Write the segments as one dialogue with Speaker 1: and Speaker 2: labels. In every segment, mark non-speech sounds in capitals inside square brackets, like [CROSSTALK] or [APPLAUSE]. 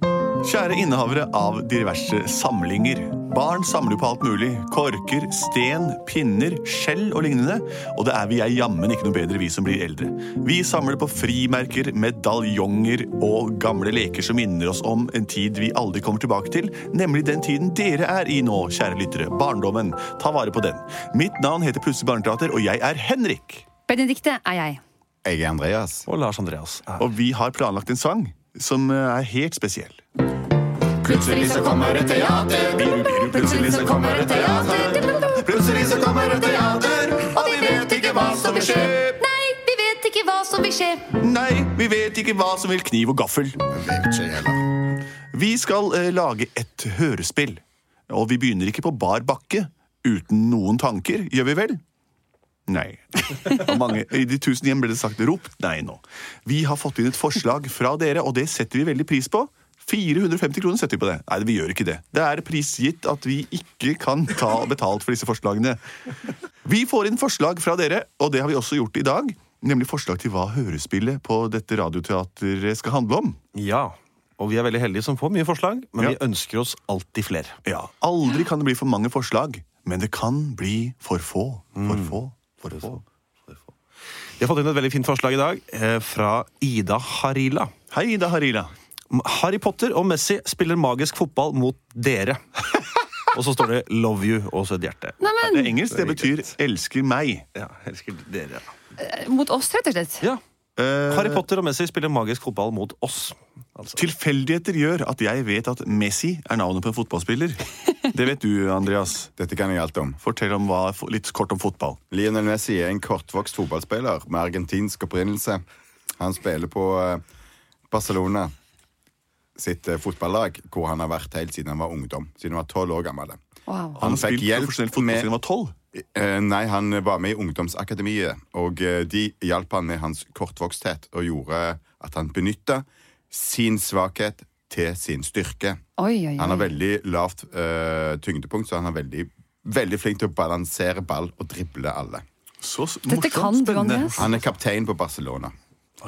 Speaker 1: Kjære innehavere av diverse samlinger. Barn samler på alt mulig. Korker, sten, pinner, skjell og lignende. Og det er vi er jammen ikke noe bedre, vi som blir eldre. Vi samler på frimerker, medaljonger og gamle leker som minner oss om en tid vi aldri kommer tilbake til, nemlig den tiden dere er i nå, kjære lyttere. Barndommen. Ta vare på den. Mitt navn heter Plutselig barneteater, og jeg er Henrik.
Speaker 2: Benedikte er jeg.
Speaker 3: Jeg er Andreas.
Speaker 4: Og Lars Andreas.
Speaker 1: Og vi har planlagt en sang som eh, er helt spesiell.
Speaker 3: Plutselig så kommer et teater. Plutselig så kommer et teater. Plutselig så kommer et teater, og vi vet ikke hva som vil skje.
Speaker 2: Nei, vi vet ikke hva som vil skje.
Speaker 1: Nei, vi vet ikke hva som vil kniv og gaffel.
Speaker 3: Vet ikke heller.
Speaker 1: Vi skal eh, lage et hørespill. Og vi begynner ikke på bar bakke. Uten noen tanker, gjør vi vel? Nei. Og mange, I de tusen hjem ble det sagt rop nei nå. Vi har fått inn et forslag fra dere, og det setter vi veldig pris på. 450 kroner setter vi på det. Nei, vi gjør ikke det. Det er prisgitt at vi ikke kan ta betalt for disse forslagene. Vi får inn forslag fra dere, og det har vi også gjort i dag. Nemlig forslag til hva hørespillet på dette radioteatret skal handle om.
Speaker 4: Ja, og vi er veldig heldige som får mye forslag, men
Speaker 1: Ja.
Speaker 4: vi ønsker oss alltid flere.
Speaker 1: Ja, Aldri kan det bli for mange forslag, men det kan bli for få. For få. For få.
Speaker 4: Vi har fått inn et veldig fint forslag i dag eh, fra Ida Harila.
Speaker 1: Hei, Ida Harila.
Speaker 4: M- Harry Potter og Messi spiller magisk fotball mot [LAUGHS] dere. og så står det 'love you' og så et hjerte.
Speaker 1: Det er engelsk, det
Speaker 4: Det er
Speaker 1: betyr 'elsker meg'.
Speaker 4: Ja, elsker dere. ja.
Speaker 2: Eh, Mot oss, rett og slett.
Speaker 4: Ja.
Speaker 1: Eh,
Speaker 4: Harry Potter og Messi spiller magisk fotball mot oss. Altså.
Speaker 1: tilfeldigheter gjør at jeg vet at Messi er navnet på en
Speaker 2: [LAUGHS]
Speaker 1: fotballspiller. Det vet du, Andreas.
Speaker 3: Dette kan jeg alt om.
Speaker 1: Fortell om hva, litt kort om fotball.
Speaker 3: Lionel Messi er en kortvokst fotballspiller med argentinsk opprinnelse. Han spiller på eh, Barcelona sitt eh, fotballag, hvor han har vært helt siden han var ungdom. Siden han var tolv år gammel.
Speaker 2: Wow.
Speaker 1: Han, har
Speaker 3: Han fikk
Speaker 1: spilt
Speaker 3: hjelp
Speaker 1: profesjonell fotball
Speaker 3: med-
Speaker 1: siden han var tolv.
Speaker 3: Eh, Nei, han var med i Ungdomsakademiet, og eh, de hjalp han med hans kortvoksthet og gjorde at han benytta sin svakhet til sin styrke.
Speaker 2: Oi, oi,
Speaker 3: Han har
Speaker 2: oi.
Speaker 3: veldig lavt eh, tyngdepunkt, så han er veldig, veldig flink til å balansere ball og drible alle.
Speaker 1: Så s-
Speaker 2: Dette
Speaker 1: morsomt
Speaker 2: kan du,
Speaker 1: spennende.
Speaker 2: Andreas.
Speaker 3: Han er kaptein på Barcelona.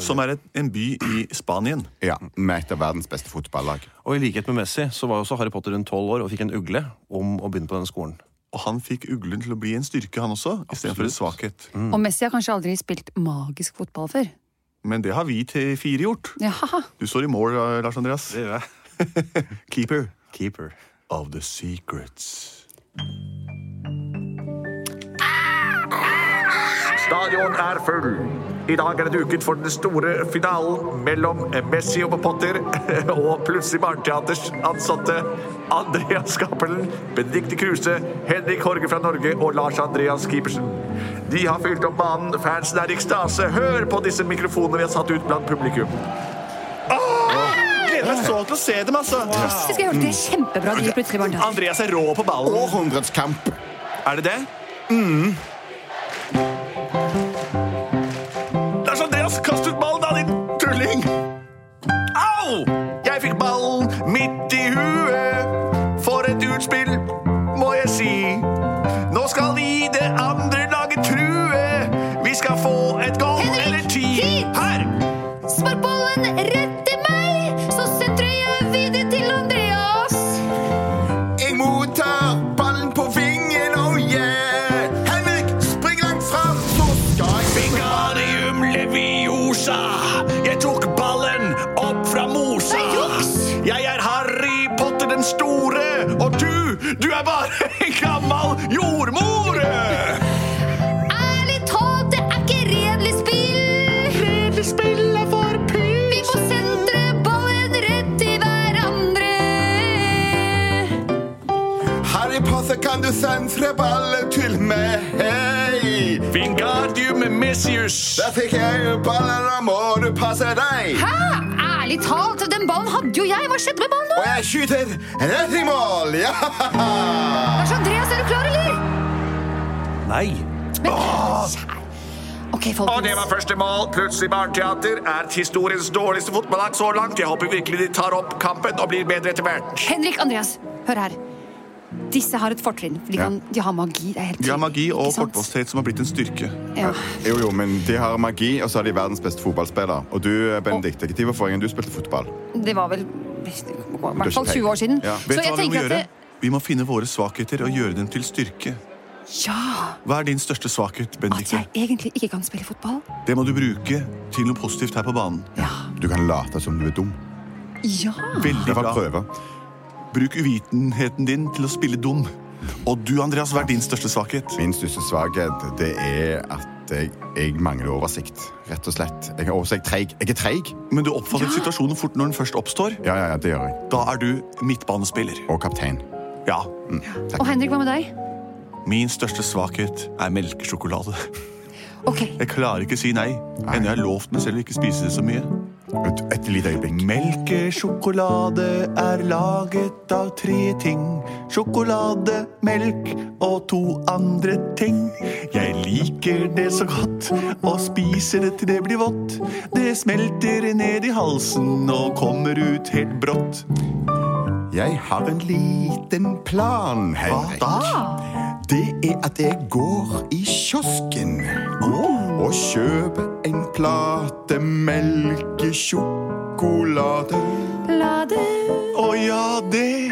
Speaker 1: Som er et, en by i Spanien.
Speaker 3: Ja, Med et av verdens beste fotballag.
Speaker 4: Og i likhet med Messi så var jo også Harry Potter rundt tolv år og fikk en ugle om å begynne på denne skolen.
Speaker 1: Og han fikk uglen til å bli en styrke, han også, istedenfor en svakhet.
Speaker 2: Og Messi har kanskje aldri spilt magisk fotball før.
Speaker 1: Men det har vi til fire gjort.
Speaker 2: Jaha.
Speaker 1: Du står i mål, Lars Andreas.
Speaker 4: gjør jeg.
Speaker 1: [LAUGHS] Keeper.
Speaker 4: Keeper.
Speaker 1: of the secrets.
Speaker 5: Stadion er full. I dag er det duket for den store finalen mellom Messi og Potter [LAUGHS] og plutselig Barneteaters ansatte Andreas Cappelen, Benedicte Kruse, Henrik Horge fra Norge og Lars Andreas Kipersen. De har fylt opp banen, fansen er i ekstase. Hør på disse mikrofonene vi har satt ut blant publikum.
Speaker 1: Gleder meg så til å se dem, altså!
Speaker 2: Jeg skal høre det er
Speaker 3: Mm.
Speaker 2: kjempebra de plutselig var der.
Speaker 1: Andreas er rå på ballen.
Speaker 3: Århundretskamp!
Speaker 1: Er det Mm. det? Lars Andreas, altså. kast ut ballen, da, din tulling! Au! Jeg fikk ballen midt i huet. For et utspill, må jeg si. Nå skal vi det andre laget true. Vi skal få et goal
Speaker 6: Henrik,
Speaker 1: eller ti.
Speaker 6: hit!
Speaker 1: Her!
Speaker 6: Spark ballen rett til meg, så sentrer jeg videre til Andreas.
Speaker 3: Jeg mottar ballen på vingen, oh yeah! Henrik, spring langt fram, så skal jeg
Speaker 1: Vingarium leviosa. Jeg tok ballen opp fra mosa.
Speaker 6: Nei, juks!
Speaker 1: Jeg er Harry Potter den store, og du, du er bare [LAUGHS] en gammel jordmor.
Speaker 6: Ærlig talt, det er ikke redelig spill. Redelig spill er for pysen. Vi må sentre ballen rett til hverandre.
Speaker 3: Harry Potter, kan du sentre ballen til meg? Hei!
Speaker 1: Vingardium messius.
Speaker 3: Der fikk jeg ballen, da må du passe deg!
Speaker 6: Hæ?
Speaker 2: Ah,
Speaker 6: Ærlig talt, den ballen hadde jo jeg. Hva skjedde med ballen nå?
Speaker 3: Og jeg skyter rett i mål! Ja!
Speaker 6: Lars Andreas, er du klar, eller?
Speaker 4: Nei!
Speaker 5: Og
Speaker 2: Ok,
Speaker 5: det var
Speaker 2: folkens.
Speaker 5: første mål. Plutselig Barneteater er historiens dårligste fotballag så langt. Jeg håper virkelig de tar opp kampen og blir bedre etter hvert.
Speaker 2: Henrik Andreas, hør her. Disse har et fortrinn. for De, kan, de har magi. det er helt
Speaker 1: De har magi og
Speaker 2: ikke sant?
Speaker 1: kortvoksthet som har blitt en styrke.
Speaker 2: Ja.
Speaker 3: Jo, jo, men de har eh, magi, og så har de verdens beste fotballspiller. Og du, Benedikte, når var forrige gang du spilte fotball?
Speaker 2: Det var vel i hvert fall 20 år siden.
Speaker 3: Ja.
Speaker 6: Vet
Speaker 2: Så
Speaker 6: du
Speaker 2: jeg
Speaker 6: hva vi må
Speaker 2: tenker at
Speaker 6: gjøre?
Speaker 2: det,
Speaker 6: Vi må finne våre svakheter og gjøre dem til styrke.
Speaker 2: Ja!
Speaker 6: Hva er din største svakhet,
Speaker 2: At
Speaker 6: Benedicte?
Speaker 2: jeg egentlig ikke kan spille fotball.
Speaker 6: Det må du bruke til noe positivt her på banen.
Speaker 2: Ja.
Speaker 3: Du kan late som du er dum.
Speaker 2: Ja!
Speaker 6: Veldig
Speaker 3: Jeg får
Speaker 6: bra.
Speaker 3: prøve.
Speaker 6: Bruk uvitenheten din til å spille dum. Og du, Andreas, hva er din største svakhet?
Speaker 3: Min største svakhet det er at jeg, jeg mangler oversikt. Rett og slett. Jeg er oversikt treig. Jeg er treig.
Speaker 6: Men du oppfatter situasjonen fort når den først oppstår.
Speaker 3: Ja, ja, ja, det gjør jeg.
Speaker 6: Da er du midtbanespiller.
Speaker 3: Og kaptein.
Speaker 6: Ja.
Speaker 2: Og Henrik, hva med deg?
Speaker 6: Min største svakhet er melkesjokolade.
Speaker 2: Ok,
Speaker 6: Jeg klarer ikke å si nei. Enda jeg har lovt meg selv å ikke spise det så mye.
Speaker 3: Et, et lite øyeblikk.
Speaker 6: Melkesjokolade er laget av tre ting. Sjokolade, melk og to andre ting. Jeg liker det så godt og spiser det til det blir vått. Det smelter ned i halsen og kommer ut helt brått.
Speaker 3: Jeg har en liten plan, Henrik. Det er at jeg går i kiosken og kjøper en plate melkesjokolade.
Speaker 6: Å ja, det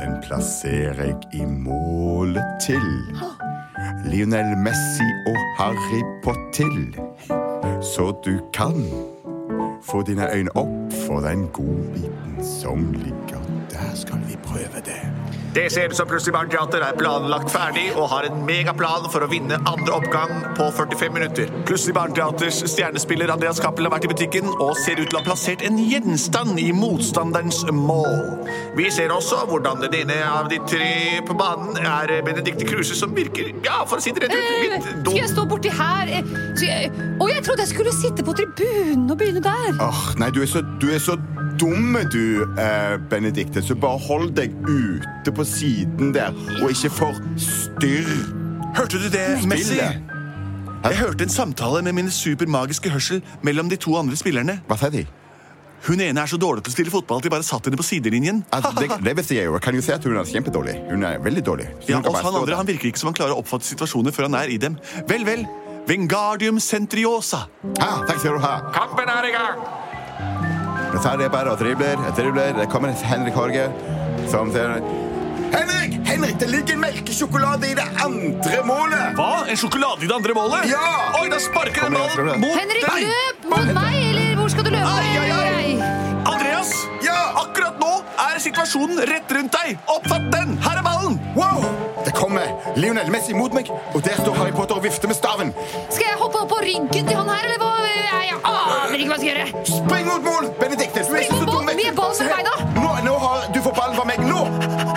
Speaker 3: Den plasserer jeg i målet til Lionel Messi og Harry Pottill. Så du kan få dine øyne opp for den godbiten som ligger der. Skal vi prøve det?
Speaker 1: Det ser ut som Plutselig barn teater er planlagt ferdig og har en megaplan for å vinne andre oppgang på 45 minutter.
Speaker 6: Plutselig barneteaters stjernespiller Andreas Cappell har vært i butikken og ser ut til å ha plassert en gjenstand i motstanderens mål.
Speaker 1: Vi ser også hvordan den ene av de tre på banen er Benedicte Kruse, som virker ja, for å si det rett ut,
Speaker 2: Eh,
Speaker 1: litt
Speaker 2: Skal jeg
Speaker 1: dum.
Speaker 2: stå borti her? Eh, skal jeg- Å, jeg trodde jeg skulle sitte på tribunen og begynne der.
Speaker 3: Åh, nei, du er så, du er så dumme, du, eh, Benedikte. Så bare hold deg ute på siden der, og ikke forstyrr
Speaker 6: Hørte du det, Messi?
Speaker 3: spillet.
Speaker 6: Jeg hørte en samtale med min supermagiske hørsel mellom de to andre spillerne.
Speaker 3: Hva sa de?
Speaker 6: Hun ene er så dårlig til å spille fotball at de bare satt henne på sidelinjen.
Speaker 3: Altså, det, det visste jeg jo. Jeg kan jo si at hun er kjempedårlig. Hun er veldig dårlig. Så
Speaker 6: Ja,
Speaker 3: hun kan
Speaker 6: og
Speaker 3: bare
Speaker 6: han
Speaker 3: stå
Speaker 6: andre
Speaker 3: der.
Speaker 6: han virker ikke som han klarer å oppfatte situasjoner før han er i dem. Vel, vel. Vengardium centriosa.
Speaker 3: Ah, takk skal du ha.
Speaker 1: Kampen er i gang!
Speaker 3: Men så er det bare og dribler, og dribler. Det kommer Henrik Horge, som sier Henrik! Henrik, det ligger en melkesjokolade i det andre målet!
Speaker 6: Hva? En sjokolade i det andre målet?
Speaker 3: Ja!
Speaker 6: Oi, da sparker
Speaker 3: Kom
Speaker 6: den
Speaker 3: igjen,
Speaker 6: ballen
Speaker 3: Frode.
Speaker 6: mot
Speaker 2: Henrik,
Speaker 6: deg!
Speaker 2: løp mot meg, eller hvor skal du løpe?
Speaker 6: Ai, ai, ai.
Speaker 2: Jeg-
Speaker 6: Andreas!
Speaker 3: Ja!
Speaker 6: Akkurat nå er situasjonen rett rundt deg! Oppfatt den! Her er ballen!
Speaker 3: Wow! Det kommer Lionel Messi mot meg, og der står Harry Potter og vifter med staven.
Speaker 2: Skal jeg hoppe opp på ryggen til han her, eller hva? Jeg jeg aner ikke hva jeg skal gjøre.
Speaker 3: Spring mot mål, Benedikte! Du er ikke
Speaker 2: Spring
Speaker 3: så
Speaker 2: mot
Speaker 3: dum,
Speaker 2: mål,
Speaker 3: vet du.
Speaker 2: mye ball for
Speaker 3: Se her.
Speaker 2: beina.
Speaker 3: Nå, nå har du får ballen fra meg. Nå!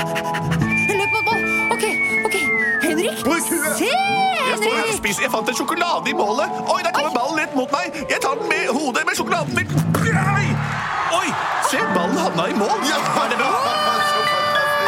Speaker 2: Jeg løper mot mål. Ok, ok. Henrik,
Speaker 3: Bruk huet.
Speaker 2: se!
Speaker 6: Jeg står her og
Speaker 2: Henrik!
Speaker 6: spiser. Jeg fant en sjokolade i målet. Oi, der kommer ballen rett mot meg. Jeg tar den med hodet med sjokoladen min. Nei! Oi! Se, ballen havna i mål.
Speaker 3: Ja!
Speaker 6: Er det bra?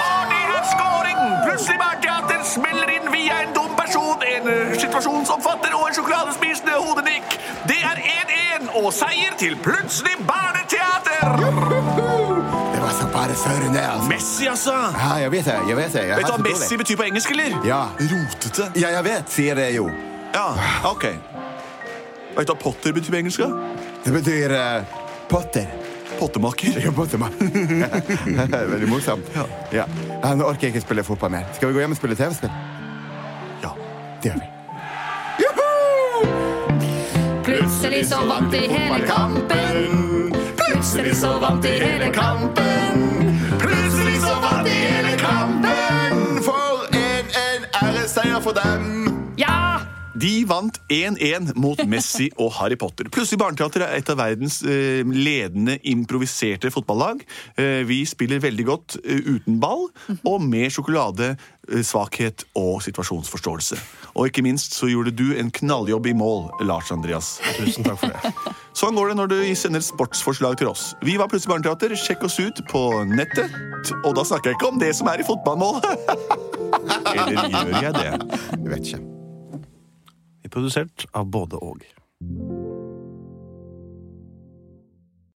Speaker 1: Arnie har scoring! Plutselig barneteater smeller inn via en dum person, en eh, situasjonsomfatter og en sjokoladespisende hodenikk. Det er 1-1 og seier til Plutselig barneteater!
Speaker 3: Det var så bare før hun er.
Speaker 6: Messi, altså.
Speaker 3: Ja, jeg vet det. jeg Vet det. Jeg
Speaker 6: Vet du
Speaker 3: har
Speaker 6: hva
Speaker 3: så
Speaker 6: Messi
Speaker 3: dårlig.
Speaker 6: betyr på engelsk, eller?
Speaker 3: Ja.
Speaker 6: Rotete.
Speaker 3: ja, jeg vet, sier det jo.
Speaker 6: Ja, ok. Vet du hva Potter betyr på engelsk? da?
Speaker 3: Det betyr eh, Potter.
Speaker 6: Pottemaker.
Speaker 3: Ja, Pottermann. [LAUGHS] Veldig morsomt. Ja. Ja, Nå orker jeg ikke spille fotball mer. Skal vi gå hjem og spille TV-spill?
Speaker 6: Ja.
Speaker 3: Det gjør vi.
Speaker 7: Plutselig så vant de hele kampen. Plutselig så vant de hele kampen. Plutselig så vant de hele kampen.
Speaker 3: For en, en æresseier for dem!
Speaker 7: Ja!
Speaker 6: De vant 1-1 mot Messi og Harry Potter. Plutselig Barneteater er et av verdens eh, ledende improviserte fotballag. Eh, vi spiller veldig godt eh, uten ball og med sjokolade, eh, svakhet og situasjonsforståelse. Og ikke minst så gjorde du en knalljobb i mål, Lars Andreas.
Speaker 4: Tusen takk for det.
Speaker 6: Sånn går det når du sender sportsforslag til oss. Vi var Plutselig Barneteater. Sjekk oss ut på nettet. Og da snakker jeg ikke om det som er i fotballmål. Eller gjør jeg det?
Speaker 3: Jeg vet ikke.
Speaker 4: Vi er Produsert av både og.